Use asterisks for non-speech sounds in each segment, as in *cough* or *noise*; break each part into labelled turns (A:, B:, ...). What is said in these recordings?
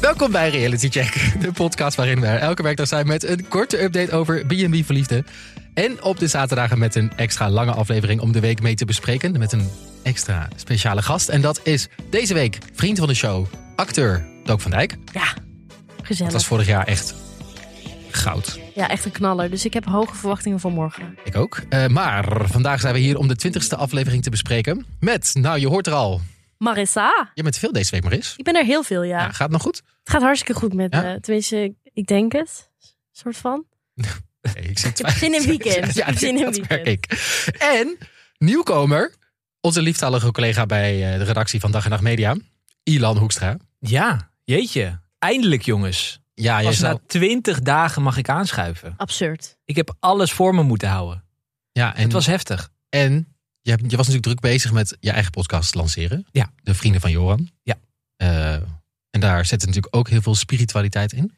A: Welkom bij Reality Check, de podcast waarin we er elke werkdag zijn met een korte update over B&B verliefden. En op de zaterdagen met een extra lange aflevering om de week mee te bespreken met een extra speciale gast. En dat is deze week vriend van de show, acteur Dook van Dijk.
B: Ja,
A: Dat
B: gezellig.
A: was vorig jaar echt goud.
B: Ja, echt een knaller. Dus ik heb hoge verwachtingen voor morgen.
A: Ik ook. Eh, maar vandaag zijn we hier om de twintigste aflevering te bespreken met, nou je hoort er al,
B: Marissa,
A: je bent veel deze week Maris.
B: ik ben er heel veel, ja.
A: Ja. gaat het nog goed?
B: Het gaat hartstikke goed met
A: Ja?
B: me. Tenminste, ik- ik denk het. Soort van.
A: Nee, ik zit
B: Ik heb zin in weekend. Ik heb zin in
A: dat merk
B: weekend.
A: ik. En nieuwkomer, onze lieftalige collega bij eh, de redactie van Dag en Nacht Media, Ilan Hoekstra.
C: Ja, jeetje. Eindelijk jongens.
A: Ja, jij
C: Pas
A: zou-
C: na twintig dagen mag ik aanschuiven.
B: Absurd.
C: Ik heb alles voor me moeten houden.
A: ja en,
C: Het was heftig.
A: en je, hebt- je was natuurlijk druk bezig met je eigen podcast lanceren.
C: Ja.
A: De Vrienden van Joran.
C: Ja.
A: Eh, en daar zit natuurlijk ook heel veel spiritualiteit in.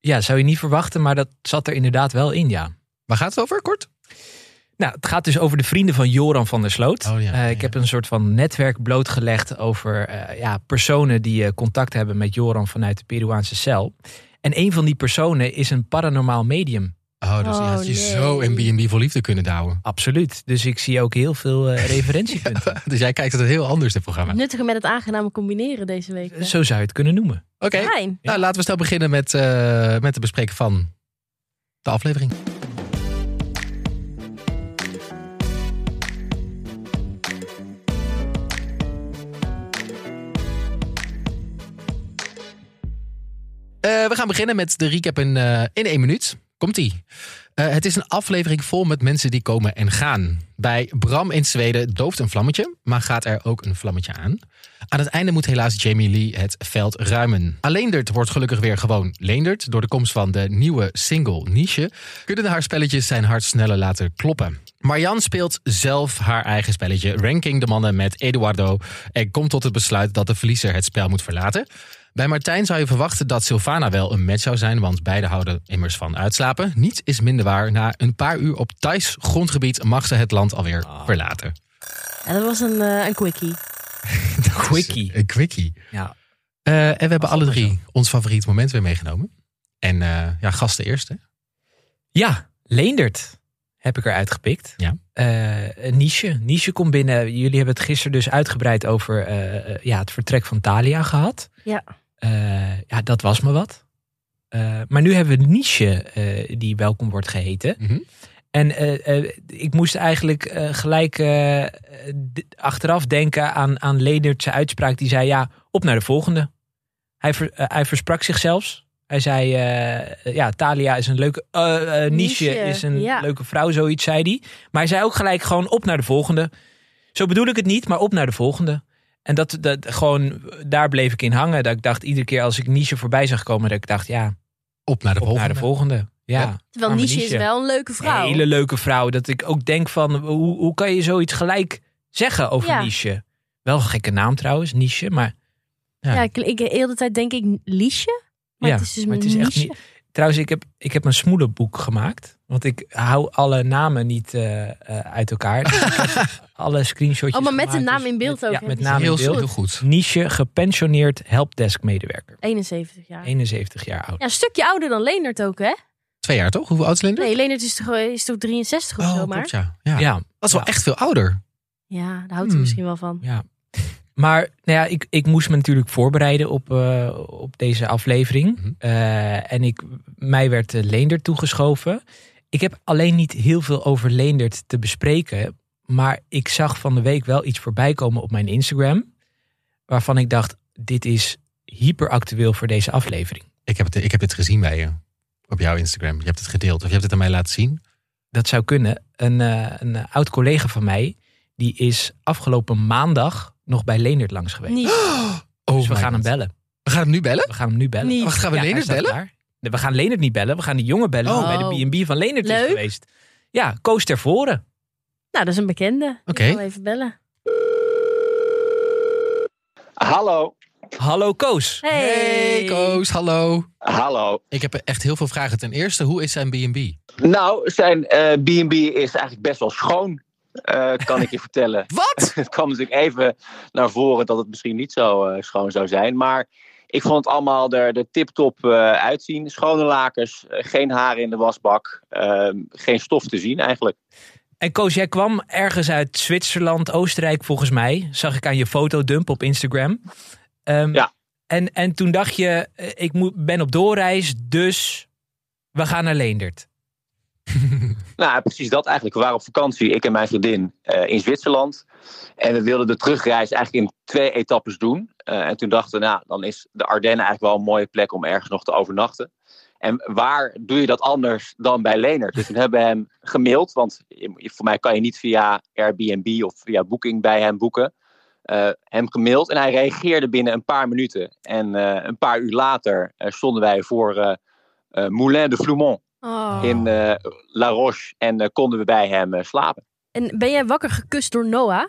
C: Ja, zou je niet verwachten, maar dat zat er inderdaad wel in, ja.
A: Waar gaat het over, kort?
C: Nou, het gaat dus over de vrienden van Joran van der Sloot.
A: Oh ja,
C: Eh, ik
A: ja.
C: heb een soort van netwerk blootgelegd over eh, ja, personen die eh, contact hebben met Joran vanuit de Peruaanse cel. En een van die personen is een paranormaal medium.
A: Oh, dus je
B: Oh,
A: had je
B: nee.
A: zo in B&B voor liefde kunnen douwen. *laughs*
C: Absoluut. Dus ik zie ook heel veel eh, referentiepunten.
A: Dus jij kijkt het heel anders, dit programma. Oké,
B: Nuttige met het aangename combineren deze week. hè?
C: Zo zou je het kunnen noemen.
B: Fijn.
A: nou, laten we snel beginnen met, eh, met het bespreken van de aflevering. Eh, we gaan beginnen met de recap in, eh, in één minuut. Komt-ie. Eh, het is een aflevering vol met mensen die komen en gaan. Bij Bram in Zweden dooft een vlammetje, maar gaat er ook een vlammetje aan. Aan het einde moet helaas Jamie Lee het veld ruimen. Alleendert wordt gelukkig weer gewoon Leendert. Door de komst van de nieuwe single Niche kunnen haar spelletjes zijn hart sneller laten kloppen. Marianne speelt zelf haar eigen spelletje, ranking de mannen met Eduardo en komt tot het besluit dat de verliezer het spel moet verlaten. Bij Martijn zou je verwachten dat Sylvana wel een match zou zijn, want beide houden immers van uitslapen. Niets is minder waar. Na een paar uur op Thais grondgebied mag ze het land alweer *laughs* verlaten.
B: Ja, dat was een, eh, een quickie.
C: Quickie.
A: Een quickie.
C: Ja,
A: Eh, en we hebben alle
C: altijd
A: drie ons favoriet moment weer meegenomen. En eh, ja, gasten eerst. Hè?
C: Ja, Leendert heb ik eruit gepikt.
A: Ja.
C: Eh, Niche. Niche komt binnen. Jullie hebben het gisteren dus uitgebreid over eh, eh, ja, het vertrek van Thalia gehad.
B: Ja.
C: Eh, ja, dat was me wat. Eh, maar nu hebben we Niche eh, die welkom wordt geheten.
A: Mhm.
C: En eh, eh, ik moest eigenlijk eh, gelijk eh, eh, d- achteraf denken aan, aan Ledert's uitspraak. Die zei, ja, op naar de volgende. Hij, ver- eh, hij versprak zichzelf. Hij zei, eh, ja, Talia is een leuke... eh, eh, niche,
B: Niche,
C: is een
B: ja.
C: leuke vrouw, zoiets zei hij. Maar hij zei ook gelijk gewoon op naar de volgende. Zo bedoel ik het niet, maar op naar de volgende. En dat, dat gewoon, daar bleef ik in hangen. Dat ik dacht, iedere keer als ik Niche voorbij zag komen... dat ik dacht, ja, op
A: Op naar de volgende.
C: naar de volgende.
A: Ja.
C: Ja.
B: Terwijl
C: Arme
B: Niche is
C: Niche.
B: wel een leuke vrouw.
C: Een hele leuke vrouw. Dat ik ook denk van, hoe, hoe kan je zoiets gelijk zeggen over
B: Ja.
C: Niche? Wel een gekke naam trouwens, Niche. Maar,
B: Ja, ik, ik, de hele tijd denk ik Liesje. Maar
C: ja,
B: het is dus
C: maar het is echt
B: Niche.
C: niet... Trouwens, ik heb, ik heb een smoelenboek gemaakt. Want ik hou alle namen niet eh, eh,
B: *laughs*
C: uit elkaar. Dus ik heb alle screenshotjes
B: Oh, maar met de
C: gemaakt, dus
B: naam in beeld
C: met-
B: ook,
C: Ja,
B: hè?
C: met
B: Die
C: naam in
A: heel,
C: beeld.
A: heel goed.
C: Niche, gepensioneerd helpdesk medewerker.
B: 71 jaar.
C: 71 jaar oud.
B: Ja, een stukje ouder dan Leendert ook, hè?
A: Twee jaar toch? Hoeveel oud is Linder?
B: Nee, Leendert is toch, is toch 63 of
A: oh,
B: zo, maar?
A: klopt, ja. ja.
C: Ja,
A: Dat is wel
C: Ja.
A: echt veel ouder.
B: Ja, daar houdt hij
A: Hmm.
B: misschien wel van.
C: Ja. Maar nou ja, ik, ik moest me natuurlijk voorbereiden op, eh, op deze aflevering.
A: Mhm.
C: Eh, en ik, mij werd eh, Leendert toegeschoven. Ik heb alleen niet heel veel over Leendert te bespreken. Maar ik zag van de week wel iets voorbij komen op mijn Instagram. Waarvan ik dacht, dit is hyperactueel voor deze aflevering.
A: Ik heb, het, ik heb dit gezien bij je. Op jouw Instagram. Je hebt het gedeeld. Of je hebt het aan mij laten
C: *gasps*
A: zien.
C: Dat zou kunnen. Een, eh, een eh, oud collega van mij, die is afgelopen maandag nog bij Leendert langs geweest.
B: Niet.
A: Oh
C: dus we
A: my
C: gaan hem
A: God.
C: bellen.
A: We gaan hem nu bellen?
C: We gaan hem nu bellen.
B: Niet.
A: Wacht, gaan we
C: Ja,
A: Leendert
C: hij staat
A: bellen?
C: klaar. Nee, We gaan Leendert niet bellen, we gaan de jongen bellen
A: Oh.
C: die bij de B&B van Leendert is
B: Leuk.
C: geweest. Ja, Koos ter voren.
B: Nou, dat is een bekende.
A: Oké.
B: Ik zal even bellen.
D: Hallo.
C: Hallo Koos.
B: Hey,
A: Koos, hallo.
D: Hallo.
A: Ik heb echt heel veel vragen. Ten eerste, hoe is zijn B&B?
D: Nou, zijn eh, B&B is eigenlijk best wel schoon, eh, kan ik je vertellen.
A: Wat?
D: *laughs* Het kwam natuurlijk even naar voren dat het misschien niet zo eh, schoon zou zijn. Maar ik vond het allemaal er de tip-top eh, uitzien. Schone lakens, eh, geen haren in de wasbak, ehm, geen stof te zien eigenlijk.
C: En Koos, jij kwam ergens uit Zwitserland, Oostenrijk volgens mij. Zag ik aan je fotodump op Instagram. Ehm,
D: Ja.
C: En, en toen dacht je, eh, ik moet, ben op doorreis, dus we gaan naar Leendert.
D: Nou, precies dat eigenlijk. We waren op vakantie, ik en mijn vriendin, eh, in Zwitserland. En we wilden de terugreis eigenlijk in twee etappes doen. Eh, en toen dachten we, nou, dan is de Ardennen eigenlijk wel een mooie plek om ergens nog te overnachten. En waar doe je dat anders dan bij Lenert? Dus toen hebben we hem gemaild, want je- voor mij kan je niet via Airbnb of via Booking bij hem boeken. Eh, hem gemaild en hij reageerde binnen een paar minuten. En eh, een paar uur later eh, stonden wij voor eh, eh, Moulin de Floumont
B: Oh.
D: in eh, La Roche en eh, konden we bij hem eh, slapen.
B: En ben jij wakker gekust door Noah?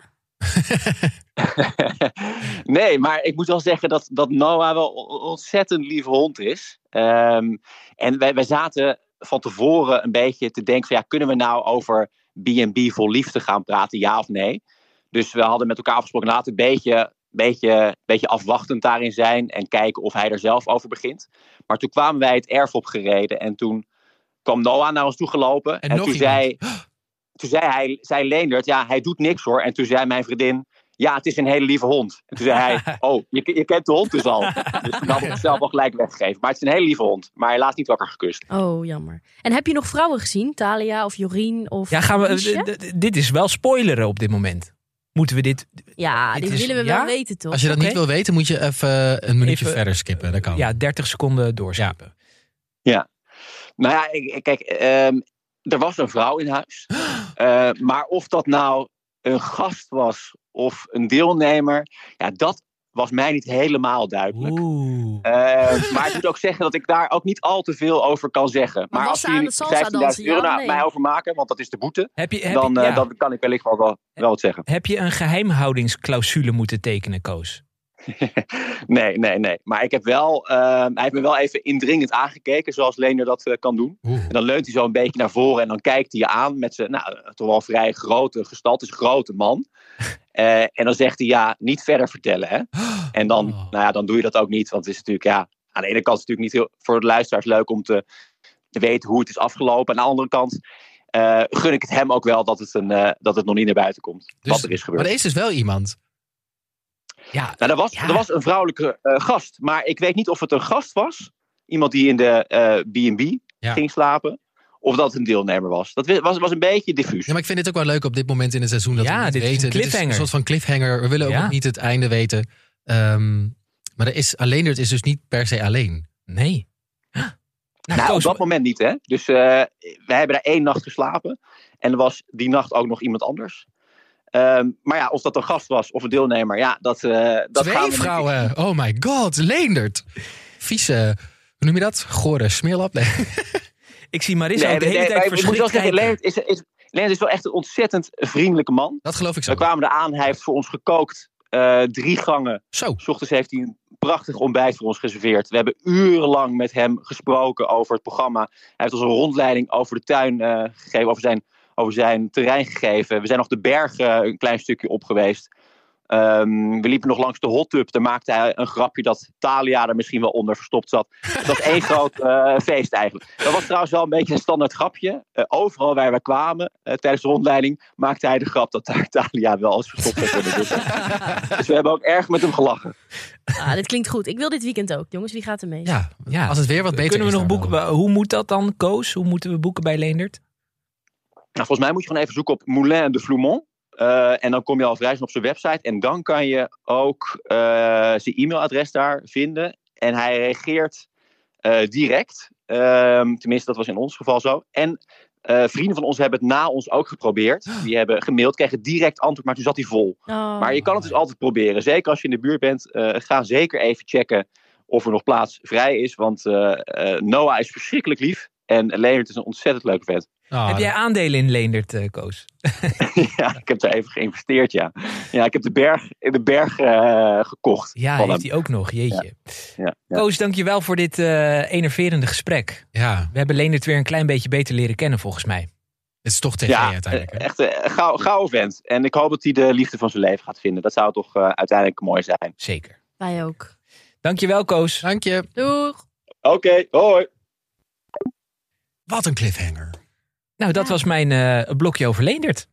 D: nee, maar ik moet wel zeggen dat, dat Noah wel een ontzettend lieve hond is. Ehm, en wij, wij zaten van tevoren een beetje te denken van ja, kunnen we nou over B&B vol liefde gaan praten, ja of nee? Dus we hadden met elkaar afgesproken, laten we een beetje, beetje, beetje afwachtend daarin zijn en kijken of hij er zelf over begint. Maar toen kwamen wij het erf op gereden en toen kwam Noah naar ons toe gelopen.
A: En
D: En,
A: nog
D: toen,
A: iemand.
D: zei, *gasps* toen zei hij, zei Leendert, ja, hij doet niks hoor. En toen zei mijn vriendin, ja, het is een hele lieve hond. En toen zei
C: *laughs*
D: hij, oh, je, je kent de hond dus al. Dus toen had ik het zelf al gelijk weggegeven. Maar het is een hele lieve hond, maar helaas niet wakker gekust.
B: Oh, jammer. En heb je nog vrouwen gezien? Talia of Jorien of
C: Ja, gaan we,
B: Liesje?
C: d- d- dit is wel spoileren op dit moment. Moeten we dit...
B: Ja,
C: dit
B: die
C: is-
B: willen we
C: ja?
B: wel weten, toch?
A: Als je dat
C: Oké.
A: niet wil weten, moet je even eh, een minuutje
C: Even-
A: verder skippen. Dat kan.
C: Ja, 30 seconden doorskippen.
D: Nou ja, ik- ik- kijk, ehm, er was een vrouw in
C: *gasps*
D: huis. Eh, maar of dat nou een gast was of een deelnemer, ja, dat was mij niet helemaal duidelijk.
C: Oeh. *laughs*
D: Eh, maar ik moet ook zeggen dat ik daar ook niet al te veel over kan zeggen. Maar,
B: was
D: als
B: ze aan
D: jullie
B: het salsa dansen, ja
D: euro
B: of
D: naar
B: nee?
D: mij overmaken, want dat is de boete,
C: Heb je, heb,
D: dan,
C: je,
D: eh,
C: ja.
D: dan kan ik wellicht wel, wel, wel wat zeggen.
C: heb je een geheimhoudingsclausule moeten tekenen, Koos?
D: Nee, nee, nee. Maar ik heb wel, ehm, hij heeft me wel even indringend aangekeken, zoals Lener dat eh, kan doen.
A: Oeh.
D: En dan leunt hij zo een beetje naar voren en dan kijkt hij je aan met zijn nou, toch wel vrij grote gestalte, is een grote
A: *laughs*
D: man. Eh, en dan zegt hij ja, niet verder vertellen.
A: *gasps*
D: Hè? En dan,
A: Oh.
D: nou ja, dan doe je dat ook niet, want het is natuurlijk, ja, aan de ene kant is het natuurlijk niet heel, voor de luisteraars leuk om te, te weten hoe het is afgelopen. Aan de andere kant eh, gun ik het hem ook wel dat het, een, eh, dat het nog niet naar buiten komt,
A: Dus-
D: wat er is gebeurd.
A: Maar er is dus wel iemand.
C: Ja,
D: Nou, er was,
C: Ja.
D: er was een vrouwelijke eh, gast, maar ik weet niet of het een gast was. Iemand die in de eh, B&B
A: Ja.
D: ging slapen. Of dat het een deelnemer was. Dat wi- was, was een beetje diffuus.
A: Ja, maar ik vind dit ook wel leuk op dit moment in het seizoen. Dat
C: Ja,
A: we niet
C: dit is een
A: weten.
C: cliffhanger.
A: een soort van cliffhanger. We willen ook
C: Ja.
A: nog niet het einde weten. Ehm, maar er is, alleen het is dus niet per se alleen.
C: nee. Huh. Nou,
D: nou, op
C: Koos,
D: dat moment niet, hè. Dus wij we hebben daar één nacht geslapen. En er was die nacht ook nog iemand anders. Ehm, maar ja, of dat een gast was of een deelnemer, ja, dat, eh dat gaan we
A: Twee
D: niet-
A: vrouwen. Oh my god, Leendert. Vieze, hoe noem je dat? Gore smeerlap. Nee.
C: ik zie Marissa
D: Nee,
C: ook de
D: nee,
C: hele
D: nee,
C: tijd
D: maar ik moet wel
C: verschrikt
D: zeggen,
C: kijken.
D: Leonard is, is, Leonard is wel echt een ontzettend vriendelijke man.
A: Dat geloof ik zo.
D: We kwamen eraan, hij heeft voor ons gekookt. eh, drie gangen
A: Zo. *laughs*
D: S ochtends heeft hij een prachtig ontbijt voor ons geserveerd. We hebben urenlang met hem gesproken over het programma. Hij heeft ons een rondleiding over de tuin eh, gegeven, over zijn, over zijn terrein gegeven. We zijn nog de bergen eh, een klein stukje op geweest. Ehm, we liepen nog langs de hot tub. Daar maakte hij een grapje dat Thalia er misschien wel onder verstopt zat. Het was één *laughs* groot eh, feest eigenlijk. Dat was trouwens wel een beetje een standaard grapje. Eh, overal waar we kwamen eh, tijdens de rondleiding maakte hij de grap dat daar Thalia wel eens verstopt zat.
B: *laughs*
D: onder de douche. Dus we hebben ook erg met hem gelachen.
B: *laughs* Ah, dit klinkt goed. Ik wil dit weekend ook. Jongens, wie gaat er mee?
A: Ja,
C: Ja.
A: als het weer wat beter
C: Kunnen we
A: is
C: nog
A: dan
C: boeken?
A: wel.
C: Hoe moet dat dan, Koos? Hoe moeten we boeken bij Leendert?
D: Nou, volgens mij moet je gewoon even zoeken op Moulin de Floumont. Eh, en dan kom je al vrij snel op zijn website. En dan kan je ook eh, zijn e-mailadres daar vinden. En hij reageert eh, direct. Ehm, tenminste, dat was in ons geval zo. En eh, vrienden van ons hebben het na ons ook geprobeerd. Die hebben gemaild, kregen direct antwoord, maar toen zat hij vol.
B: Oh.
D: Maar je kan het dus altijd proberen. Zeker als je in de buurt bent, eh, ga zeker even checken of er nog plaats vrij is. Want eh, eh, Noah is verschrikkelijk lief. En Leendert is een ontzettend leuke vet.
A: Ah,
C: Heb jij aandelen in Leendert, eh, Koos?
D: *laughs* ja, ik heb daar even geïnvesteerd, ja. Ja, ik heb de berg, de berg eh, gekocht.
C: Ja,
D: van
C: heeft
D: hem.
C: hij ook nog. Jeetje.
D: Ja, ja.
C: Koos, dankjewel voor dit eh, enerverende gesprek.
A: Ja,
C: We hebben Leendert weer een klein beetje beter leren kennen, volgens mij.
A: het is toch tv
D: Ja,
A: uiteindelijk. hè?
D: Echt een gauw, gauw vent. En ik hoop dat hij de liefde van zijn leven gaat vinden. Dat zou toch eh, uiteindelijk mooi zijn.
C: Zeker.
B: Wij ook.
C: Dankjewel, Koos.
A: Dank je.
B: Doeg.
D: Oké, hoi.
A: Wat een cliffhanger.
C: Nou, dat
B: Ja.
C: was mijn eh, blokje
B: *laughs*
C: over Leendert.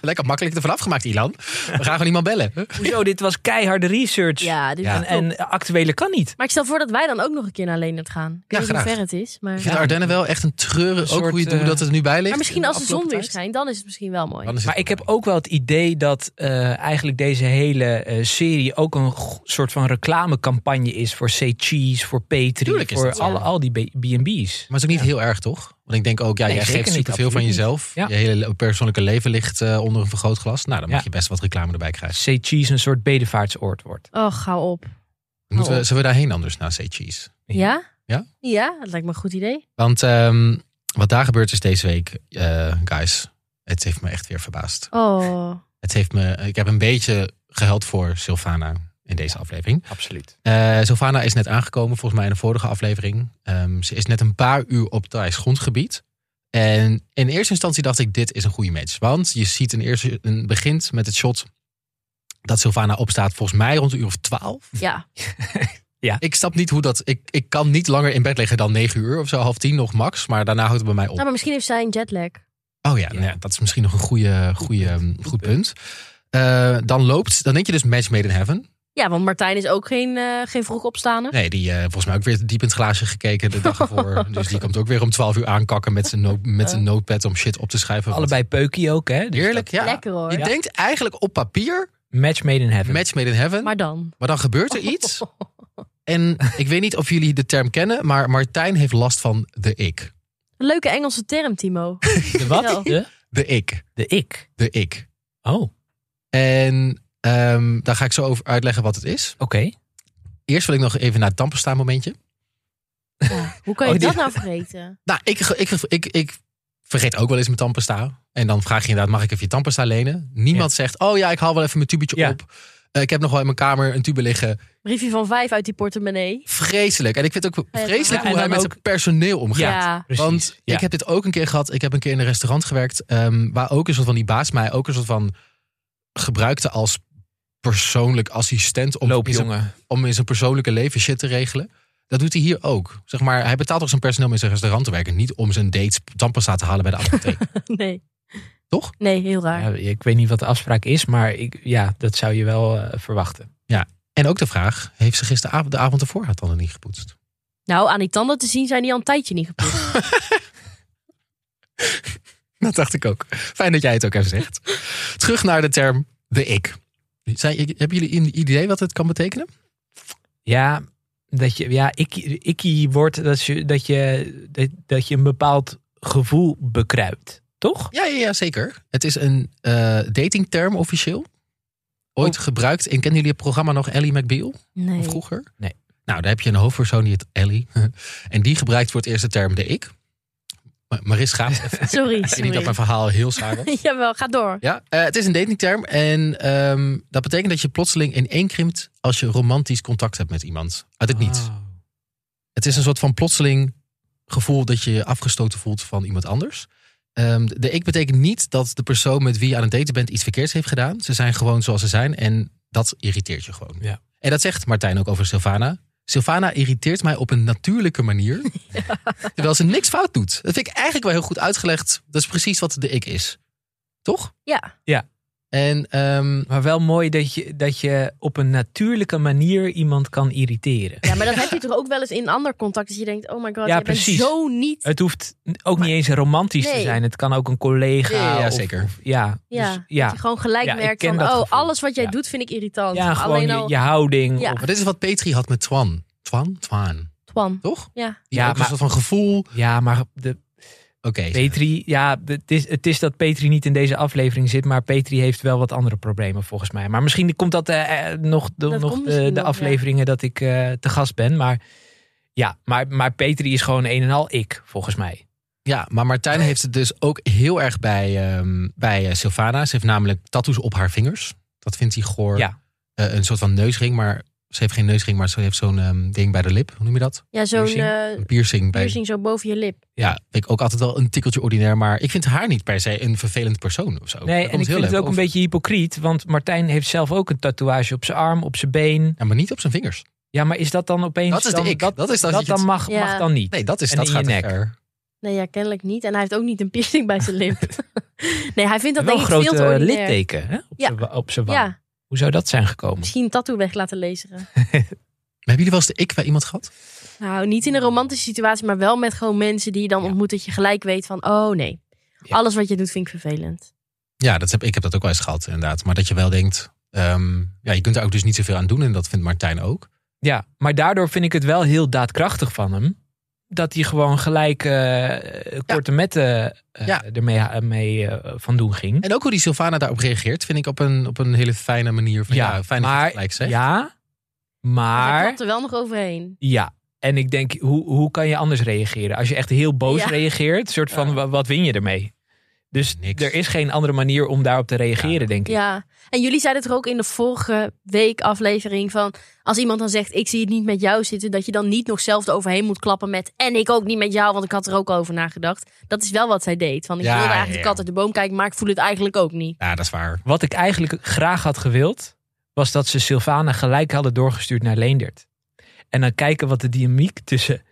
A: Lekker makkelijk ervan afgemaakt, Ilan. We gaan gewoon iemand bellen.
C: Hoezo, dit was keiharde research.
B: Ja, dit
A: Ja.
B: is
C: En,
B: top.
C: en eh, actuele kan niet.
B: Maar ik stel voor dat wij dan ook nog een keer naar Leendert gaan. Ik
A: Ja,
B: weet niet
A: graag.
B: hoe ver het is. Maar,
A: Ik vind de Ardennen wel echt een treuren.
C: Een
A: ook hoe, je,
C: soort, eh,
A: hoe dat het er nu bij ligt.
B: maar misschien als de zon weer
A: Afgelopen tijd.
B: schijnt, dan is het misschien wel mooi.
A: Dan is het
C: Maar ik
A: wel
C: heb
A: mooi.
C: ook wel het idee dat eh, eigenlijk deze hele eh, serie ook een g- soort van reclamecampagne is voor Say Cheese, voor Petri,
A: Tuurlijk is
C: voor
A: dat zo.
C: alle, al die B- B&B's.
A: Maar het is ook niet heel erg, toch? Want ik denk ook, ja,
C: Nee,
A: jij
C: zeker
A: geeft
C: niet,
A: superveel van
C: absoluut
A: jezelf.
C: niet.
A: Je hele persoonlijke leven ligt eh, onder een vergrootglas. Nou, dan mag
C: Ja.
A: je best wat reclame erbij krijgen.
C: Say Cheese een soort bedevaartsoord wordt.
B: Oh, gauw op.
A: Moeten we,
B: Oh.
A: zullen we daarheen anders naar Say Cheese?
B: Ja?
A: Ja?
B: Ja, dat lijkt me een goed idee.
A: Want ehm, wat daar gebeurd is deze week, eh, guys, het heeft me echt weer verbaasd.
B: Oh.
A: *laughs* Het heeft me, ik heb een beetje gehuild voor Sylvana in deze aflevering.
C: Absoluut.
A: Eh Sylvana is net aangekomen, volgens mij in de vorige aflevering. Ehm, ze is net een paar uur op Thais grondgebied. En in eerste instantie dacht ik, dit is een goede match. Want je ziet in eerste, een begint met het shot dat Sylvana opstaat, volgens mij rond een uur of twaalf.
B: Ja.
A: Ik snap niet hoe dat, ik, ik kan niet langer in bed liggen dan negen uur of zo, half tien nog max. Maar daarna houdt het bij mij op.
B: Nou, maar misschien heeft zij een jetlag.
A: Oh ja,
C: Ja.
A: nou ja, dat is misschien nog een goede, goede,
C: punt.
A: ehm, goed,
C: Goed
A: punt. Eh, dan loopt, dan denk je dus match made in heaven.
B: Ja, want Martijn is ook geen, eh geen vroeg opstaaner.
A: Nee, die eh, volgens mij ook weer diep in het glaasje gekeken de dag ervoor. dus die komt ook weer om 12 uur aankakken met zijn, no- met zijn notepad om shit op te schrijven.
C: Allebei peukie ook, hè?
A: Wat
C: Dus
A: heerlijk, ja.
B: Lekker hoor.
A: Je denkt eigenlijk op papier,
C: dat- Match made in heaven.
A: match made in heaven.
B: Maar dan.
A: Maar dan gebeurt er iets. En ik weet niet of jullie de term kennen, maar Martijn heeft last van de ik.
B: *laughs* Een leuke Engelse term, Timo.
C: De wat?
B: Ja.
C: De,
A: De ik.
C: de ik.
A: De ik.
C: Oh, oké.
A: En ehm, daar ga ik zo over uitleggen wat het is. Eerst wil ik nog even naar het tandpasta momentje.
B: *laughs* Ja, hoe kan je
C: Oh, die-
B: dat nou vergeten?
A: Nou, ik, ik, ik, ik vergeet ook wel eens mijn tandpasta. En dan vraag je inderdaad, mag ik even je tandpasta lenen? Niemand zegt, oh ja, ik haal wel even mijn tubetje
C: Ja.
A: op. Eh, ik heb nog wel in mijn kamer een tube liggen.
B: Briefje van vijf uit die portemonnee.
A: Vreselijk. En ik vind het ook
B: Ja,
A: vreselijk hoe
C: ja, en
A: hij
C: dan
A: met
C: ook-
A: zijn personeel omgaat.
C: Ja,
B: Ja. *laughs*
C: precies.
A: Want
C: Ja.
A: ik heb dit ook een keer gehad. Ik heb een keer in een restaurant gewerkt. ehm, waar ook een soort van die baas mij ook een soort van gebruikte als persoonlijk assistent. Om in zijn
C: Loopjongen.
A: om in zijn persoonlijke leven shit te regelen. Dat doet hij hier ook. Zeg maar, hij betaalt ook zijn personeel om in zijn restaurant te werken. Niet om zijn dates tandpasta te halen bij de apotheek.
B: Nee.
A: Toch?
B: Nee, heel raar.
C: Ja, ik weet niet wat de afspraak is, maar ik, ja, dat zou je wel eh, verwachten.
A: en ook de vraag, heeft ze gisteravond de avond ervoor haar tanden niet gepoetst?
B: Nou, aan die tanden te zien zijn die al een tijdje niet
C: *laughs*
B: gepoetst.
A: Dat dacht ik ook. Fijn dat jij het ook even zegt. Terug naar de term de ik. Zijn, hebben jullie een idee wat het kan betekenen?
C: Ja, dat je, ja, ik, ikkie wordt dat je, dat, je, dat, dat je een bepaald gevoel bekruipt, toch?
A: Ja, ja, ja zeker. Het is een eh, datingterm officieel. Ooit gebruikt in, kennen jullie het programma nog Ellie McBeal?
B: Nee.
A: Of vroeger?
C: Nee.
A: Nou, daar heb je een hoofdpersoon die het Ellie. *laughs* en die gebruikt voor het eerste term de ik. Ma- Maris *laughs* gaat. Ik
B: Sorry,
A: weet niet dat
B: *laughs*
A: mijn
B: sorry.
A: verhaal heel zwaar was.
B: Jawel, ga door.
A: Ja, eh, het is een datingterm. En ehm, dat betekent dat je plotseling ineenkrimpt als je romantisch contact hebt met iemand. Uit
C: Ah.
A: het niets. Het is een soort van plotseling gevoel dat je je afgestoten voelt van iemand anders. Ehm, de ik betekent niet dat de persoon met wie je aan het daten bent iets verkeerds heeft gedaan. Ze zijn gewoon zoals ze zijn en dat irriteert je gewoon.
C: Ja.
A: En dat zegt Martijn ook over Sylvana. Sylvana irriteert mij op een natuurlijke manier.
B: *laughs*
A: Terwijl ze niks fout doet. Dat vind ik eigenlijk wel heel goed uitgelegd. Dat is precies wat de ik is. Toch?
B: Ja.
C: Ja.
A: En ehm,
C: Maar wel mooi dat je, dat je op een natuurlijke manier iemand kan irriteren.
B: Ja, maar dat heb je toch ook wel eens in ander contact. Dat je denkt, oh my god,
C: Ja,
B: je bent
C: precies. Eh,
B: zo niet...
C: Het hoeft ook niet eens romantisch te
B: Nee.
C: zijn. Het kan ook een collega.
A: Ja, *laughs* ja,
C: of-
A: zeker.
C: of- ja,
B: Ja,
C: dus,
B: Dat
C: ja.
B: je gewoon gelijk
C: Ja, ik
B: merkt
C: ken
B: van,
C: dat
B: oh,
C: gevoel.
B: alles wat jij
C: Ja.
B: doet vind ik irritant.
C: ja, gewoon
B: Alleen
C: je,
B: al...
C: je houding.
B: Ja.
C: of-
A: maar dit is wat Petri had met Twan. Twan? Twan.
B: Twan.
A: Toch?
B: Ja.
A: Die
C: Ja,
A: ook een
C: maar-
A: soort van gevoel. Oké.
C: ja maar de, Petri, ja, de- het is, het is dat Petri niet in deze aflevering zit, maar Petri heeft wel wat andere problemen volgens mij. Maar misschien komt dat eh, eh, nog, de,
B: Dat
C: nog
B: komt
C: de,
B: misschien
C: de
B: nog, ja.
C: afleveringen dat ik eh, te gast ben. Maar Ja, maar, maar Peter die is gewoon een en al ik, volgens
A: Oh,
C: mij.
A: Ja, maar Martijn heeft het dus ook heel erg bij, ehm, bij eh, Sylvana. Ze heeft namelijk tattoos op haar vingers. Dat vindt hij goor.
C: Ja.
A: Eh, een soort van neusring, maar ze heeft geen neusring, maar ze heeft zo'n ehm, ding bij de lip. Hoe noem je dat?
B: Ja, zo'n
A: Piercing?
B: eh,
A: Een piercing. Bij,
B: piercing zo boven je lip.
A: Ja, vind ik ook altijd wel een tikkeltje ordinair, maar ik vind haar niet per se een vervelend persoon of zo. Daar
C: Nee,
A: komt
C: en ik
A: heel
C: vind het
A: leuk
C: ook een
A: over.
C: beetje hypocriet, want Martijn heeft zelf ook een tatoeage op zijn arm, op zijn been.
A: Ja, maar niet op zijn vingers.
C: Ja, maar is dat dan opeens...
A: Dat is de
C: dan,
A: ik. Dat is dat je
C: dan
A: het-
C: mag,
B: Ja.
C: mag dan niet.
A: Nee, dat is
C: En
A: dat
C: in je
A: gaat te
C: nek.
A: ver.
B: Nee, ja, kennelijk niet. En hij heeft ook niet een piercing bij zijn
C: *laughs*
B: lip. nee, hij vindt dat
C: wel
B: denk
C: een
B: ik veel te
C: grote
B: ordinair.
C: litteken hè? op
B: Ja.
C: zijn wa- op zijn wang.
B: Ja,
C: Hoe zou dat zijn gekomen?
B: misschien een tattoo weg laten lezen.
A: Maar hebben jullie wel eens de ik bij iemand gehad?
B: Nou, niet in een romantische situatie, maar wel met gewoon mensen die je dan
C: Hmm. Ja.
B: ontmoet. Dat je gelijk weet van, oh nee,
C: Ja.
B: alles wat je doet vind ik vervelend.
A: Ja, dat heb, ik heb dat ook wel eens gehad, inderdaad. Maar dat je wel denkt, ehm, ja, je kunt er ook dus niet zoveel aan doen. En dat vindt Martijn ook.
C: Ja, maar daardoor vind ik het wel heel daadkrachtig van hem. Dat hij gewoon gelijk eh, korte metten eh,
A: Ja.
C: ermee eh, mee, eh, van doen ging.
A: En ook hoe die Sylvana daarop reageert, vind ik op een, op een hele fijne manier. Van, ja, fijn dat je het
C: maar,
A: gelijk zegt.
C: ja,
B: Maar hij
C: maar
B: klapt er wel nog overheen.
C: ja. En ik denk, hoe, hoe kan je anders reageren? Als je echt heel boos
B: Ja.
C: reageert, soort van,
A: Ja.
C: wa- wat win je ermee? Dus
A: Niks.
C: er is geen andere manier om daarop te reageren, denk ik.
B: Ja, en jullie zeiden toch ook in de vorige week aflevering van... als iemand dan zegt, ik zie het niet met jou zitten... dat je dan niet nog zelf eroverheen moet klappen met... en ik ook niet met jou, want ik had er ook over nagedacht. Dat is wel wat zij deed. Van, ik
A: Ja,
B: wilde eigenlijk
A: ja,
B: de
A: ja.
B: kat uit de boom kijken... maar ik voel het eigenlijk ook niet.
A: Ja, dat is waar.
C: Wat ik eigenlijk graag had gewild, was dat ze Sylvana gelijk hadden doorgestuurd naar Leendert. En dan kijken wat de dynamiek tussen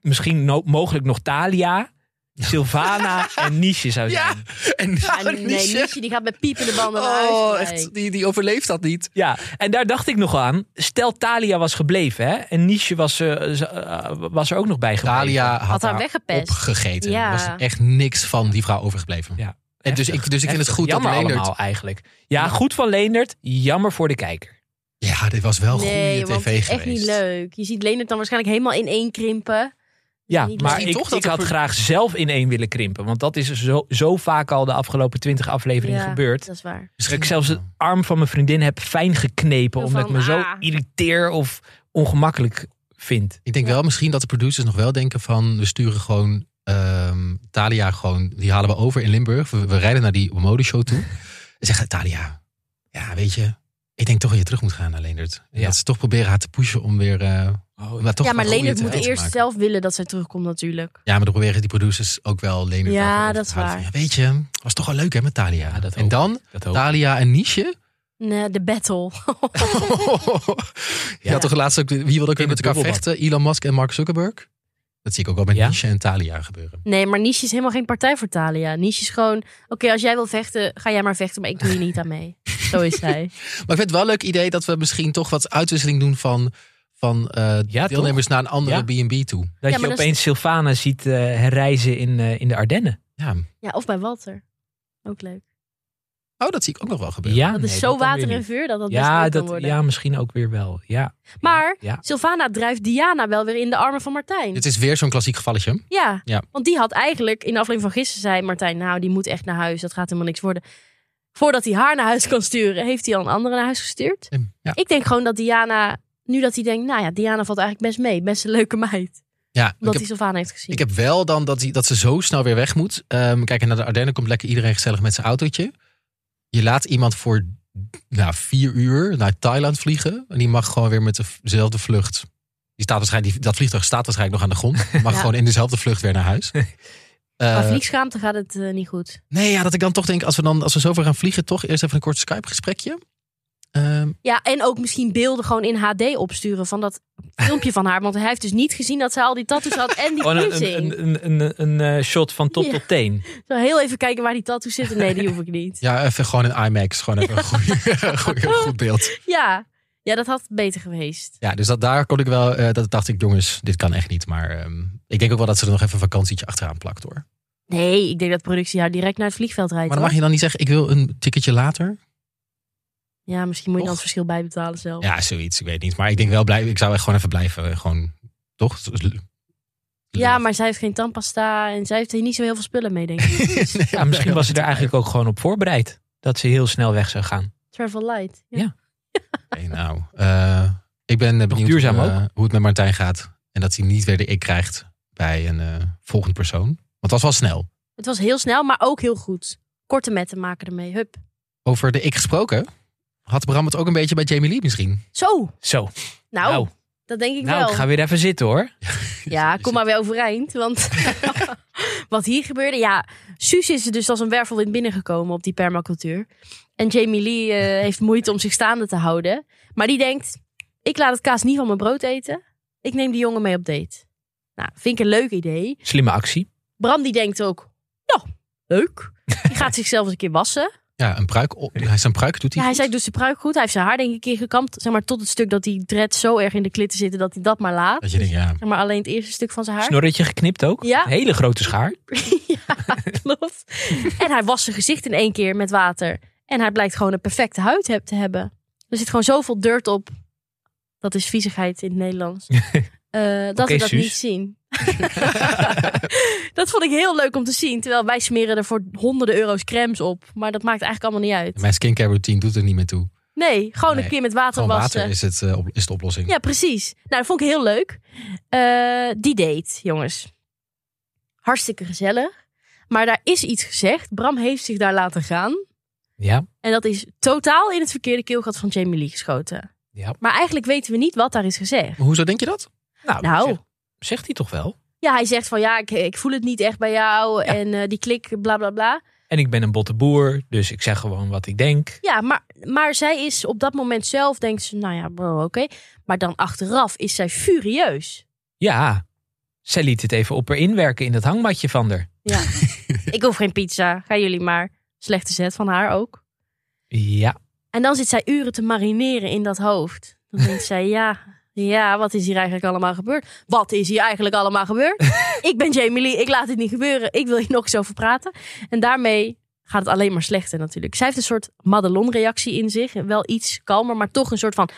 C: misschien no- mogelijk nog
A: *laughs*
C: Thalia, Sylvana en Niche zou zijn. Ja.
A: *laughs* En nou,
B: En nee,
A: Niesje.
B: Niesje, die gaat met piepende banden naar huis.
A: Oh,
B: gelijk.
A: echt, die, die overleeft dat niet.
C: en daar dacht ik nog aan. Stel Thalia was gebleven hè, en Niche was, eh, z- eh, was er ook nog bij gebleven.
A: Dalia had,
B: Had haar
A: haar
B: weggepest.
A: opgegeten.
B: Ja.
A: Er was echt niks van die vrouw overgebleven.
C: Ja.
A: En dus ik, dus ik vind het
C: Heftig.
A: goed dat
C: jammer
A: Leendert...
C: allemaal eigenlijk. Ja, goed van Leendert, jammer voor de kijker.
A: Ja, dit was wel
B: nee,
A: goede
B: want
A: tv
B: het is
A: geweest.
B: echt niet leuk. Je ziet Leendert dan waarschijnlijk helemaal ineenkrimpen.
C: Ja,
B: Niet
C: maar
B: misschien
C: ik,
A: toch dat
C: ik
A: er
C: had
A: voor-
C: graag zelf in één willen krimpen. Want dat is zo, zo vaak al de afgelopen twintig afleveringen
B: Ja,
C: gebeurd.
B: Dat is waar.
A: Misschien-
C: Dat ik zelfs de arm van mijn vriendin heb fijn geknepen.
B: Zo
C: Omdat ik
B: van,
C: me zo
B: ah.
C: irriteer of ongemakkelijk vind.
A: Ik denk
B: Ja.
A: wel misschien dat de producers nog wel denken van... we sturen gewoon ehm Thalia gewoon... die halen we over in Limburg. We, we rijden naar die modeshow
C: *laughs*
A: toe. En zeggen Thalia, ja weet je... ik denk toch dat je terug moet gaan naar Leendert. En
C: Ja. Oh,
A: Dat ze toch proberen haar te pushen om weer... eh, om daar toch
B: ja, maar
A: een goede
B: Leendert moet
A: tv te
B: eerst
A: maken.
B: zelf willen dat zij terugkomt natuurlijk.
A: Ja, maar dan proberen die producers ook wel Leendert... daarvoor
B: Ja,
A: over
B: dat
A: te
B: is
A: houden.
B: waar.
A: Van, ja, weet je, was toch wel leuk hè met Thalia.
C: Ja, dat
A: en
C: hoop
A: dan
C: Dat
A: Thalia en Niesje.
B: Nee, de battle.
A: *laughs* ja, toch laatst ook... Wie wilde ook weer
C: In
A: met
C: het
A: elkaar
C: bubbelbad.
A: vechten? Elon Musk en Mark Zuckerberg. Dat zie ik ook wel met
C: Ja.
A: Niesje en Thalia gebeuren.
B: Nee, maar Niche is helemaal geen partij voor Thalia. Niche is gewoon, oké, als jij wil vechten, ga jij maar vechten, maar ik doe je niet aan
C: *laughs*
B: mee. Zo is zij.
A: Maar ik vind het wel een leuk idee dat we misschien toch wat uitwisseling doen van, van eh,
C: Ja,
A: deelnemers naar een andere B&B toe.
C: Dat
B: Ja,
C: je
B: maar dat
C: opeens Sylvana ziet eh, herreizen in, eh, in de Ardennen.
A: Ja.
B: Ja, of bij Walter. Ook leuk.
A: Oh, dat zie ik ook nog wel gebeuren.
C: Ja,
B: Dat is
C: nee,
B: zo
C: dan weer
B: water en
C: niet.
B: vuur dat dat best
C: Ja,
B: leuk kan
C: dat,
B: worden.
C: ja, misschien ook weer wel. Ja.
B: Maar
C: Ja.
B: Sylvana drijft Diana wel weer in de armen van Martijn.
A: Dit is weer zo'n klassiek gevalletje.
B: Ja,
A: Ja.
B: want die had eigenlijk in de aflevering van gisteren zei Martijn, nou die moet echt naar huis, dat gaat helemaal niks worden. Voordat hij haar naar huis kan sturen, heeft hij al een andere naar huis gestuurd.
A: Ja.
B: Ik denk gewoon dat Diana, nu dat hij denkt, nou ja, Diana valt eigenlijk best mee, best een leuke meid.
A: ja ik,
B: Omdat
A: heb,
B: hij Sylvana heeft gezien.
A: ik heb wel dan dat, die, dat ze zo snel weer weg moet. Ehm kijk, en naar de Ardennen komt lekker iedereen gezellig met zijn autootje. Je laat iemand voor nou, vier uur naar Thailand vliegen. En die mag gewoon weer met de v- dezelfde vlucht. Die staat waarschijnlijk, die, dat vliegtuig staat waarschijnlijk nog aan de grond. Die Mag
B: Ja.
A: gewoon in dezelfde vlucht weer naar huis.
B: Maar
A: Eh,
B: vliegschaamte gaat het eh, niet goed.
A: Nee, ja, dat ik dan toch denk, als we, dan, als we zover gaan vliegen, toch eerst even een kort Skype-gesprekje. Ehm,
B: Ja, en ook misschien beelden gewoon in HD opsturen van
A: *laughs*
B: dat filmpje van haar. Want hij heeft dus niet gezien dat ze al die tattoos had en die
A: Oh,
C: Gewoon Oh,
A: nou,
C: een,
B: piercing.
C: een, een, een, een, eh, shot van top
B: Ja. *laughs*
C: tot teen.
B: Zo heel even kijken waar die tattoos zitten. Nee, die hoef ik niet.
A: ja, even gewoon een IMAX. Gewoon even een goeie- *laughs* goeie- een goed beeld.
B: Ja, ja dat had beter geweest.
A: Ja, dus dat, daar kon ik wel, eh, dat dacht ik, jongens, dit kan echt niet. Maar ehm, ik denk ook wel dat ze er nog even een vakantietje achteraan plakt hoor.
B: Nee, ik denk dat productie haar direct naar het vliegveld rijdt.
A: Maar dan mag
B: hoor.
A: je dan niet zeggen, ik wil een ticketje later?
B: Ja, misschien moet je dan
A: Toch?
B: het verschil bijbetalen zelf.
A: Ja, zoiets, ik weet niet. Maar ik denk wel, blij, ik zou echt gewoon even blijven. eh, Gewoon, toch? *laughs*
B: Ja, maar zij heeft geen tandpasta en zij heeft hier niet zo heel veel spullen mee, denk
A: *laughs*
B: ik. Dus
A: Nee,
C: Ja, misschien was ze er eigenlijk ook gewoon op voorbereid. Dat ze heel snel weg zou gaan.
B: travel light. Ja.
A: Oké, nou, eh, ik ben eh, benieuwd
C: duurzaam
A: hoe, eh, hoe het met Martijn gaat. En dat hij niet weer de ik krijgt bij een eh, volgende persoon. Want het was wel snel.
B: Het was heel snel, maar ook heel goed. Korte metten maken ermee. Hup.
A: Over de ik gesproken. Had Bram het ook een beetje bij Jamie Lee misschien?
B: Zo.
C: Zo,
B: Nou,
C: nou, nou,
B: dat denk ik
C: ik,
B: wel.
C: ga weer even zitten hoor.
B: Ja, kom maar weer overeind. Want *laughs* wat hier gebeurde. Ja, Suus is er dus als een wervelwind binnengekomen op die permacultuur. En Jamie Lee eh, heeft moeite om zich staande te houden. Maar die denkt: ik laat het kaas niet van mijn brood eten. Ik neem die jongen mee op date. Nou, vind ik een leuk idee.
C: Slimme actie.
B: Bram die denkt ook: nou, leuk. Die gaat zichzelf eens een keer wassen.
A: Ja, een pruik. o- Hij zijn pruik doet hij.
B: Ja, hij
A: goed.
B: zei: doet zijn pruik goed. Hij heeft zijn haar denk ik een keer gekamd. Zeg maar tot het stuk dat die dreads zo erg in de klitten zitten dat hij dat maar laat.
A: Dat je denkt, ja.
B: Zeg maar alleen het eerste stuk van zijn haar.
C: Snorretje geknipt ook.
B: Ja.
C: Een hele grote schaar.
B: *laughs* ja, klopt. En hij was zijn gezicht in één keer met water. En hij blijkt gewoon een perfecte huid heb- te hebben. Er zit gewoon zoveel dirt op. Dat is viezigheid in het
A: *laughs*
B: Nederlands. Eh, dat
C: Oké,
B: we dat
C: Suus.
B: niet zien. dat vond ik heel leuk om te zien. Terwijl wij smeren er voor honderden euro's crèmes op. Maar dat maakt eigenlijk allemaal niet uit.
A: Mijn skincare routine doet er niet meer toe.
B: Nee, gewoon
A: Nee,
B: een keer met water
A: Gewoon
B: wassen.
A: water is, het, eh, op- is de oplossing.
B: Ja, precies. Nou, dat vond ik heel leuk. Eh, die date, jongens. Hartstikke gezellig. Maar daar is iets gezegd. Bram heeft zich daar laten gaan.
C: Ja,
B: En dat is totaal in het verkeerde keelgat van Jamie Lee geschoten.
C: Ja.
B: Maar eigenlijk weten we niet wat daar is gezegd.
A: Maar Hoezo denk je dat?
C: nou,
B: Nou,
C: Zegt, zegt hij toch wel.
B: ja, hij zegt van ja, ik, ik voel het niet echt bij jou. En eh, die klik, bla bla bla.
C: En ik ben een botte boer, dus ik zeg gewoon wat ik denk.
B: Ja, maar, maar zij is op dat moment zelf, denkt ze, nou ja, bro, oké. Maar dan achteraf is zij furieus.
C: Ja, zij liet het even op haar inwerken in dat hangmatje van haar.
B: Ja. ik hoef geen pizza, gaan jullie maar. Slechte zet van haar ook.
C: Ja,
B: En dan zit zij uren te marineren in dat hoofd. Dan denkt zij, ja, ja, wat is hier eigenlijk allemaal gebeurd? Wat is hier eigenlijk allemaal gebeurd? ik ben Jamie Lee, ik laat dit niet gebeuren. Ik wil hier nog eens over praten. En daarmee gaat het alleen maar slechter natuurlijk. Zij heeft een soort Madelon-reactie in zich. Wel iets kalmer, maar toch een soort van...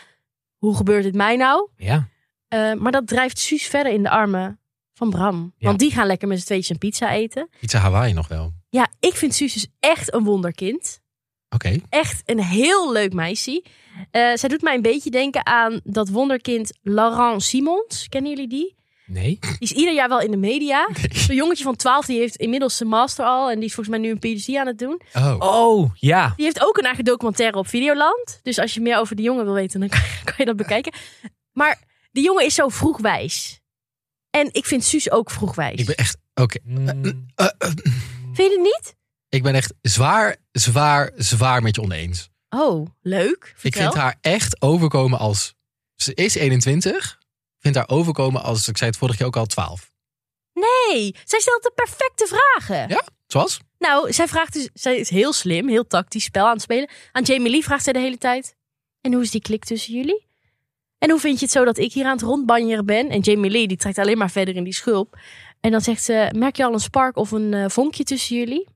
B: Hoe gebeurt dit mij nou?
C: ja.
B: Eh, maar dat drijft Suus verder in de armen van Bram.
C: Ja.
B: Want die gaan lekker met z'n tweetjes een pizza eten.
A: Iets aan Hawaii nog wel. Oké.
B: Ja, ik vind Suus dus echt een wonderkind echt een heel leuk meisje. Eh, zij doet mij een beetje denken aan dat wonderkind Laurent Simons. Kennen jullie die?
C: Nee.
B: Die is ieder jaar wel in de media. Zo'n jongetje van 12, die heeft inmiddels zijn master al. En die is volgens mij nu een PhD aan het doen.
A: *laughs* Oh.
C: Oh, ja.
B: Die heeft ook een eigen documentaire op Videoland. Dus als je meer over die jongen wil weten, dan *laughs* kan, kan je dat bekijken. Maar die jongen is zo vroegwijs. En ik vind Suus ook vroegwijs.
A: Ik ben echt. Oké.
C: Mm,
A: Eh, eh,
B: Vind je het niet?
A: ik ben echt zwaar, zwaar, zwaar met je oneens.
B: Oh, leuk.
A: Ik
B: Vertel.
A: vind haar echt overkomen als. Ze is 21. Ik vind haar overkomen als. Ik zei het vorige keer ook al 12.
B: Nee, zij stelt de perfecte vragen.
A: Zoals?
B: Nou, zij vraagt dus, zij is heel slim, heel tactisch spel aan het spelen. Aan Jamie Lee vraagt zij de hele tijd: En hoe is die klik tussen jullie? En hoe vind je het zo dat ik hier aan het rondbanjeren ben? En Jamie Lee die trekt alleen maar verder in die schulp. En dan zegt ze: Merk je al een spark of een eh, vonkje tussen jullie?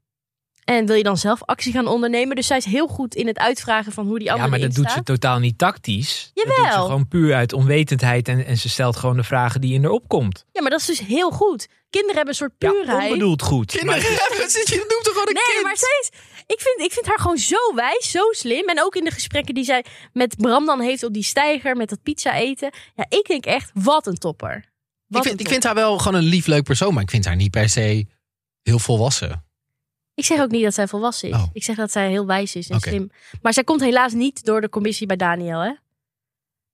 B: En wil je dan zelf actie gaan ondernemen? Dus zij is heel goed in het uitvragen van hoe die
C: Ja,
B: andere
C: maar dat doet ze totaal niet tactisch. Dat doet ze
B: Jawel.
C: gewoon puur uit onwetendheid en, en ze stelt gewoon de vragen die in haar opkomt.
B: Ja, maar dat is dus heel goed. Kinderen hebben een soort
C: Ja,
B: puurheid.
C: onbedoeld goed.
A: *laughs*
C: Maar
A: Kinderen, zit je noemt toch gewoon een
B: Nee,
A: kind?
B: maar zij is, ik, vind, ik vind haar gewoon zo wijs, zo slim. En ook in de gesprekken die zij met Bram dan heeft op die steiger, met dat pizza eten. Ja, ik denk echt, wat een topper. Wat
A: ik, vind,
B: een
A: ik
B: topper.
A: vind haar wel gewoon een lief, leuk persoon. Maar ik vind haar niet per se heel volwassen.
B: ik zeg ook niet dat zij volwassen is.
A: Oh.
B: Ik zeg dat zij heel wijs is en
A: Oké.
B: slim. Maar zij komt helaas niet door de commissie bij Daniel, hè?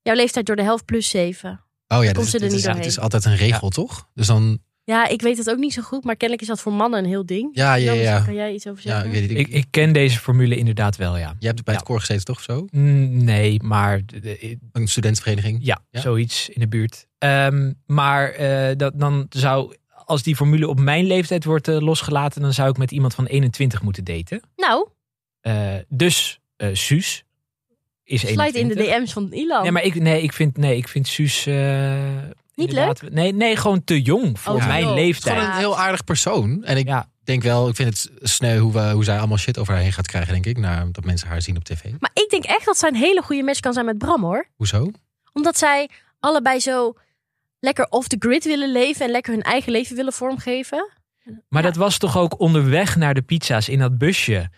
B: Jouw leeftijd door de helft plus zeven.
A: Oh ja,
B: Komt
A: dit, is-
B: ze
A: dit
B: er niet
A: is, dit
B: doorheen.
A: is altijd een regel, toch? Dus dan.
B: Ja, ik weet het ook niet zo goed, maar kennelijk is dat voor mannen een heel ding.
A: Ja, ja, ja.
B: Jan, misschien
A: ja.
B: Kan jij iets over
A: Ja,
B: zeggen?
A: ik weet niet.
C: Ik, ik ken deze formule inderdaad wel, ja.
A: Jij hebt bij het
C: Ja.
A: koor gezeten, toch? of Zo?
C: Mm, Nee, maar eh, de- de-
A: Een studentenvereniging.
C: ja,
A: Ja.
C: zoiets in de buurt. Ehm, maar eh, dat, dan zou, als die formule op mijn leeftijd wordt eh, losgelaten, dan zou ik met iemand van 21 moeten daten.
B: Nou,
C: Eh, dus eh, Suus is 21.
B: sluit in de DM's van Ilan.
C: Nee, maar ik, nee, ik, vind, nee, ik vind Suus... eh, inderdaad- Nee, nee, gewoon te jong voor
B: Oh, te
C: mijn
B: jong.
A: Het is
C: leeftijd.
A: gewoon een heel aardig persoon. En ik
C: Ja.
A: denk wel, ik vind het sneu hoe, we, hoe zij allemaal shit over haar heen gaat krijgen, denk ik. Nadat mensen haar zien op tv.
B: maar ik denk echt dat zij een hele goede match kan zijn met Bram, hoor.
A: Hoezo?
B: Omdat zij allebei zo lekker off the grid willen leven en lekker hun eigen leven willen vormgeven.
C: Maar
B: Ja.
C: dat was toch ook onderweg naar de pizza's in dat busje.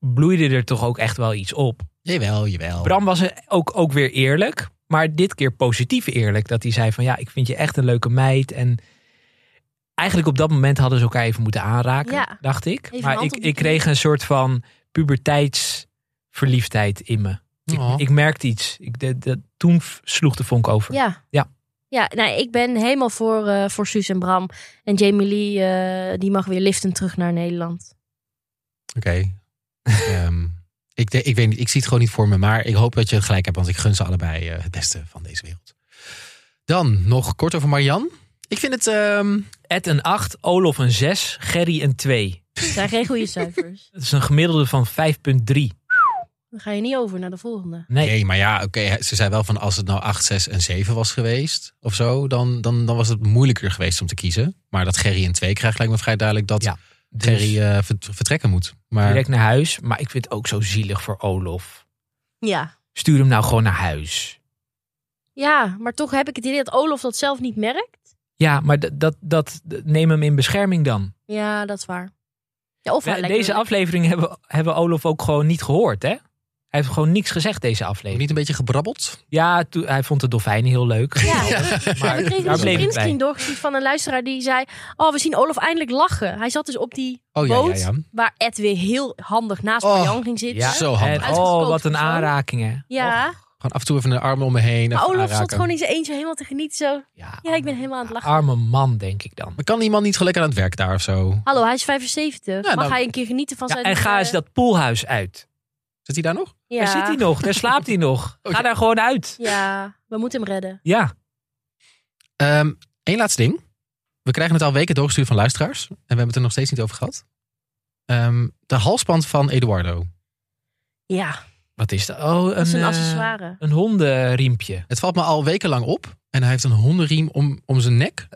C: Bloeide er toch ook echt wel iets op.
A: Jawel, jawel.
B: Oh.
C: Bram was er ook, ook weer eerlijk. Maar dit keer positief eerlijk. Dat hij zei van ja, ik vind je echt een leuke meid. En eigenlijk op dat moment hadden ze elkaar even moeten aanraken,
B: Ja.
C: dacht ik.
B: Even een
C: maar
B: hand
C: ik,
B: op de
C: ik kreeg een soort van puberteitsverliefdheid in me. Ik,
A: Oh.
C: ik merkte iets. Ik, de, de- toen f- sloeg de vonk over.
B: Ja.
C: Ja.
B: Ja, nou, ik ben helemaal voor, eh, voor Suus en Bram. En Jamie Lee, eh, die mag weer liften terug naar Nederland.
A: Oké. Ehm, ik, de- ik weet niet, ik zie het gewoon niet voor me. Maar ik hoop dat je gelijk hebt, want ik gun ze allebei eh, het beste van deze wereld. Dan nog kort over Marianne. Ik vind het... ehm,
C: Ed een 8, Olof een 6, Gerry een 2.
B: Dat zijn geen goede cijfers.
C: Dat is een gemiddelde van 5,3.
B: Dan ga je niet over naar de volgende.
C: Nee,
A: Nee, maar ja, oké. ze zei wel van als het nou 8, 6 en 7 was geweest of zo, dan, dan, dan was het moeilijker geweest om te kiezen. Maar dat Gerry een 2 krijgt lijkt me vrij duidelijk dat
C: Ja, dus
A: Gerry eh, ver- vertrekken moet. Maar
C: direct naar huis. Maar ik vind het ook zo zielig voor Olof.
B: Ja.
C: Stuur hem nou gewoon naar huis.
B: Ja, maar toch heb ik het idee dat Olof dat zelf niet merkt.
C: Ja, maar dat, dat, dat neem hem in bescherming dan.
B: Ja, dat is waar. Ja, of hij
C: We-
B: lijkt
C: deze
B: me-
C: aflevering hebben, hebben Olof ook gewoon niet gehoord, hè? Hij heeft gewoon niks gezegd deze aflevering.
A: niet een beetje gebrabbeld?
C: Ja, toe- hij vond de dolfijnen heel leuk.
B: Ja. Ja,
C: *laughs* Maar
B: we kregen
C: daar
B: dus een
C: bleef het bij.
B: printscreen doorgezien van een luisteraar die zei... Oh, we zien Olof eindelijk lachen. Hij zat dus op die
A: Oh ja, ja,
B: boot
A: ja.
B: waar Ed weer heel handig naast
A: Oh,
B: Marjan ging zitten.
C: Ja.
A: Zo handig.
C: En, oh, wat
B: Uitgesproken
C: een
B: van.
C: aanraking, hè?
B: Ja.
A: Gewoon af en toe even de armen om me heen.
B: maar
A: even
B: Olof zat
A: aanraken.
B: gewoon in zijn eentje helemaal te genieten. Zo, ja, ik ben
C: Oh,
B: helemaal aan het lachen.
C: Arme man, denk ik dan.
A: Maar kan die man niet gelukkig aan het werk daar of zo?
B: Hallo, hij is 75. Mag
A: nou-
B: hij een keer genieten van
C: Ja,
B: zijn... eh,
C: en ga eens dat poolhuis uit.
A: Zit hij daar nog?
B: Ja.
C: Daar zit hij nou? nog, daar slaapt hij nog.
A: *laughs* Oh,
C: Ga
A: ja.
C: daar gewoon uit.
B: Ja, we moeten hem redden.
C: Ja,
A: Eén Ehm, laatste ding. We krijgen het al weken doorgestuurd van luisteraars. En we hebben het er nog steeds niet over gehad. Ehm, de halsband van Eduardo.
B: Ja,
C: wat is dat? Oh,
B: dat is een
C: eh,
B: accessoire.
C: Een hondenriempje.
A: Het valt me al wekenlang op. En hij heeft een hondenriem om, om zijn nek.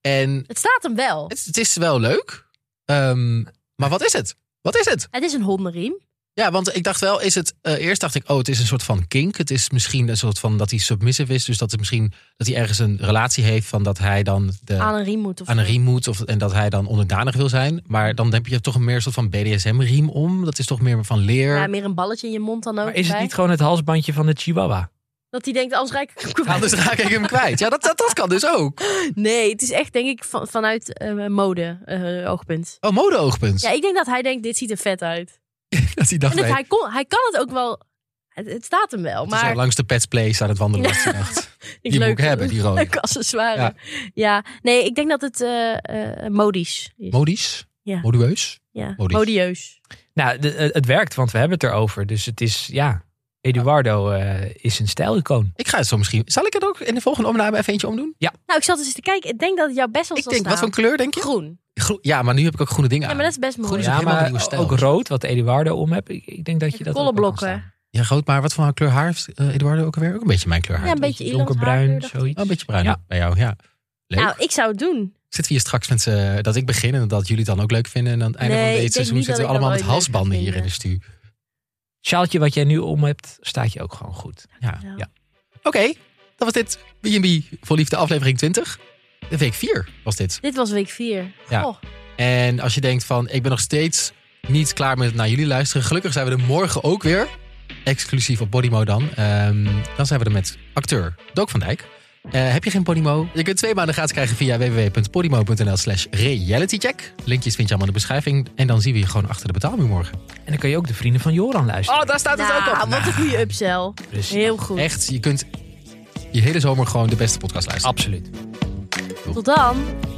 A: En
B: Het staat hem wel.
A: het, het is wel leuk. Ehm, maar wat is het? Wat is het?
B: Het is een hondenriem.
A: Ja, want ik dacht wel, is het. eh, eerst dacht ik, oh, het is een soort van kink. Het is misschien een soort van dat hij submissive is. Dus dat, het misschien, dat hij ergens een relatie heeft van dat hij dan de,
B: Aan een riem moet. Of
A: aan een
B: zo.
A: riem moet. Of, en dat hij dan onderdanig wil zijn. Maar dan heb je toch een meer soort van BDSM-riem om. Dat is toch meer van leer.
B: Ja, meer een balletje in je mond dan ook.
C: Maar is het
B: bij.
C: niet gewoon het halsbandje van de chihuahua?
B: Dat hij denkt, als rijk ik
A: Anders raak ik hem kwijt. Ja, dat, dat, dat kan dus ook.
B: Nee, het is echt denk ik van, vanuit eh, mode eh, oogpunt.
A: Oh, mode-oogpunt.
B: Ja, ik denk dat hij denkt, dit ziet er vet uit.
A: dat hij dacht,
B: En dat
A: nee,
B: hij, kon, hij kan het ook wel... Het, het staat hem wel,
A: het is al
B: maar...
A: langs de Pets Place aan het
B: *laughs*
A: wandelen. was hij dacht. Die moet ik hebben, die rode.
B: Leuke accessoire. Ja. nee, ik denk dat het eh, eh, modisch is.
A: Modisch?
B: Ja.
A: Modueus?
B: ja.
A: modisch.
B: Modieus.
C: Nou, de- het het werkt, want we hebben het erover. Dus het is, ja, Eduardo eh, is een stijlicoon.
A: Ik ga het zo misschien... Zal ik het ook in de volgende omname even eentje omdoen?
B: Nou, ik zat dus eens te kijken. Ik denk dat het jou best wel
A: Ik
B: zal
A: denk, wat voor
B: staan.
A: kleur denk je?
B: groen.
A: Groen. Ja, maar nu heb ik ook groene dingen
B: Ja,
A: aan.
B: maar dat is best mooi.
A: Groen is
C: Ja,
A: ook helemaal
C: maar
A: een nieuwe stijl.
C: ook rood, wat Eduardo om hebt. Ik, ik denk dat je dat ook wel kan
B: Kolenblokken.
C: staan.
A: Ja, groot, maar wat voor een kleur haar heeft eh, Eduardo ook alweer? Ook een beetje mijn kleur haar.
B: Ja, een beetje Ierlands
C: Donkerbruin,
B: haarkleur, dacht ik.
C: zoiets.
A: Oh, een beetje bruin
C: Ja.
A: bij jou, ja. Leuk.
B: Nou, ik zou het doen.
A: Zitten we hier straks met z'n... Dat ik begin en dat jullie het dan ook leuk vinden. En aan het einde
B: Nee,
A: van
B: ik
A: dit
B: denk
A: seizoen
B: niet
A: zitten we
B: dat ik dat
A: allemaal met
B: ooit leuk ga
A: halsbanden hier in de
B: vinden.
A: stuur.
C: Sjaaltje wat jij nu om hebt, staat je ook gewoon goed.
A: Ja.
B: Ja.
C: Ja.
A: Oké, dat was dit. B&B voor Liefde aflevering 20. De week 4 was dit.
B: Dit was week 4.
A: Ja.
B: Goh,
A: En als je denkt van, ik ben nog steeds niet klaar met naar jullie luisteren. Gelukkig zijn we er morgen ook weer. Exclusief op Bodymo dan. Ehm, dan zijn we er met acteur Dook van Dijk. Eh, heb je geen Podimo? Je kunt twee maanden gratis krijgen via www.podimo.nl slash realitycheck. Linkjes vind je allemaal in de beschrijving. En dan zien we je gewoon achter de betaalmuur morgen.
C: En dan kan je ook de vrienden van Joran luisteren.
A: Oh, daar staat het ook
B: nou,
A: op.
B: wat een goede upsell.
C: Dus
B: Heel goed.
A: Echt, je kunt je hele zomer gewoon de beste podcast luisteren.
C: absoluut.
B: Tot dan.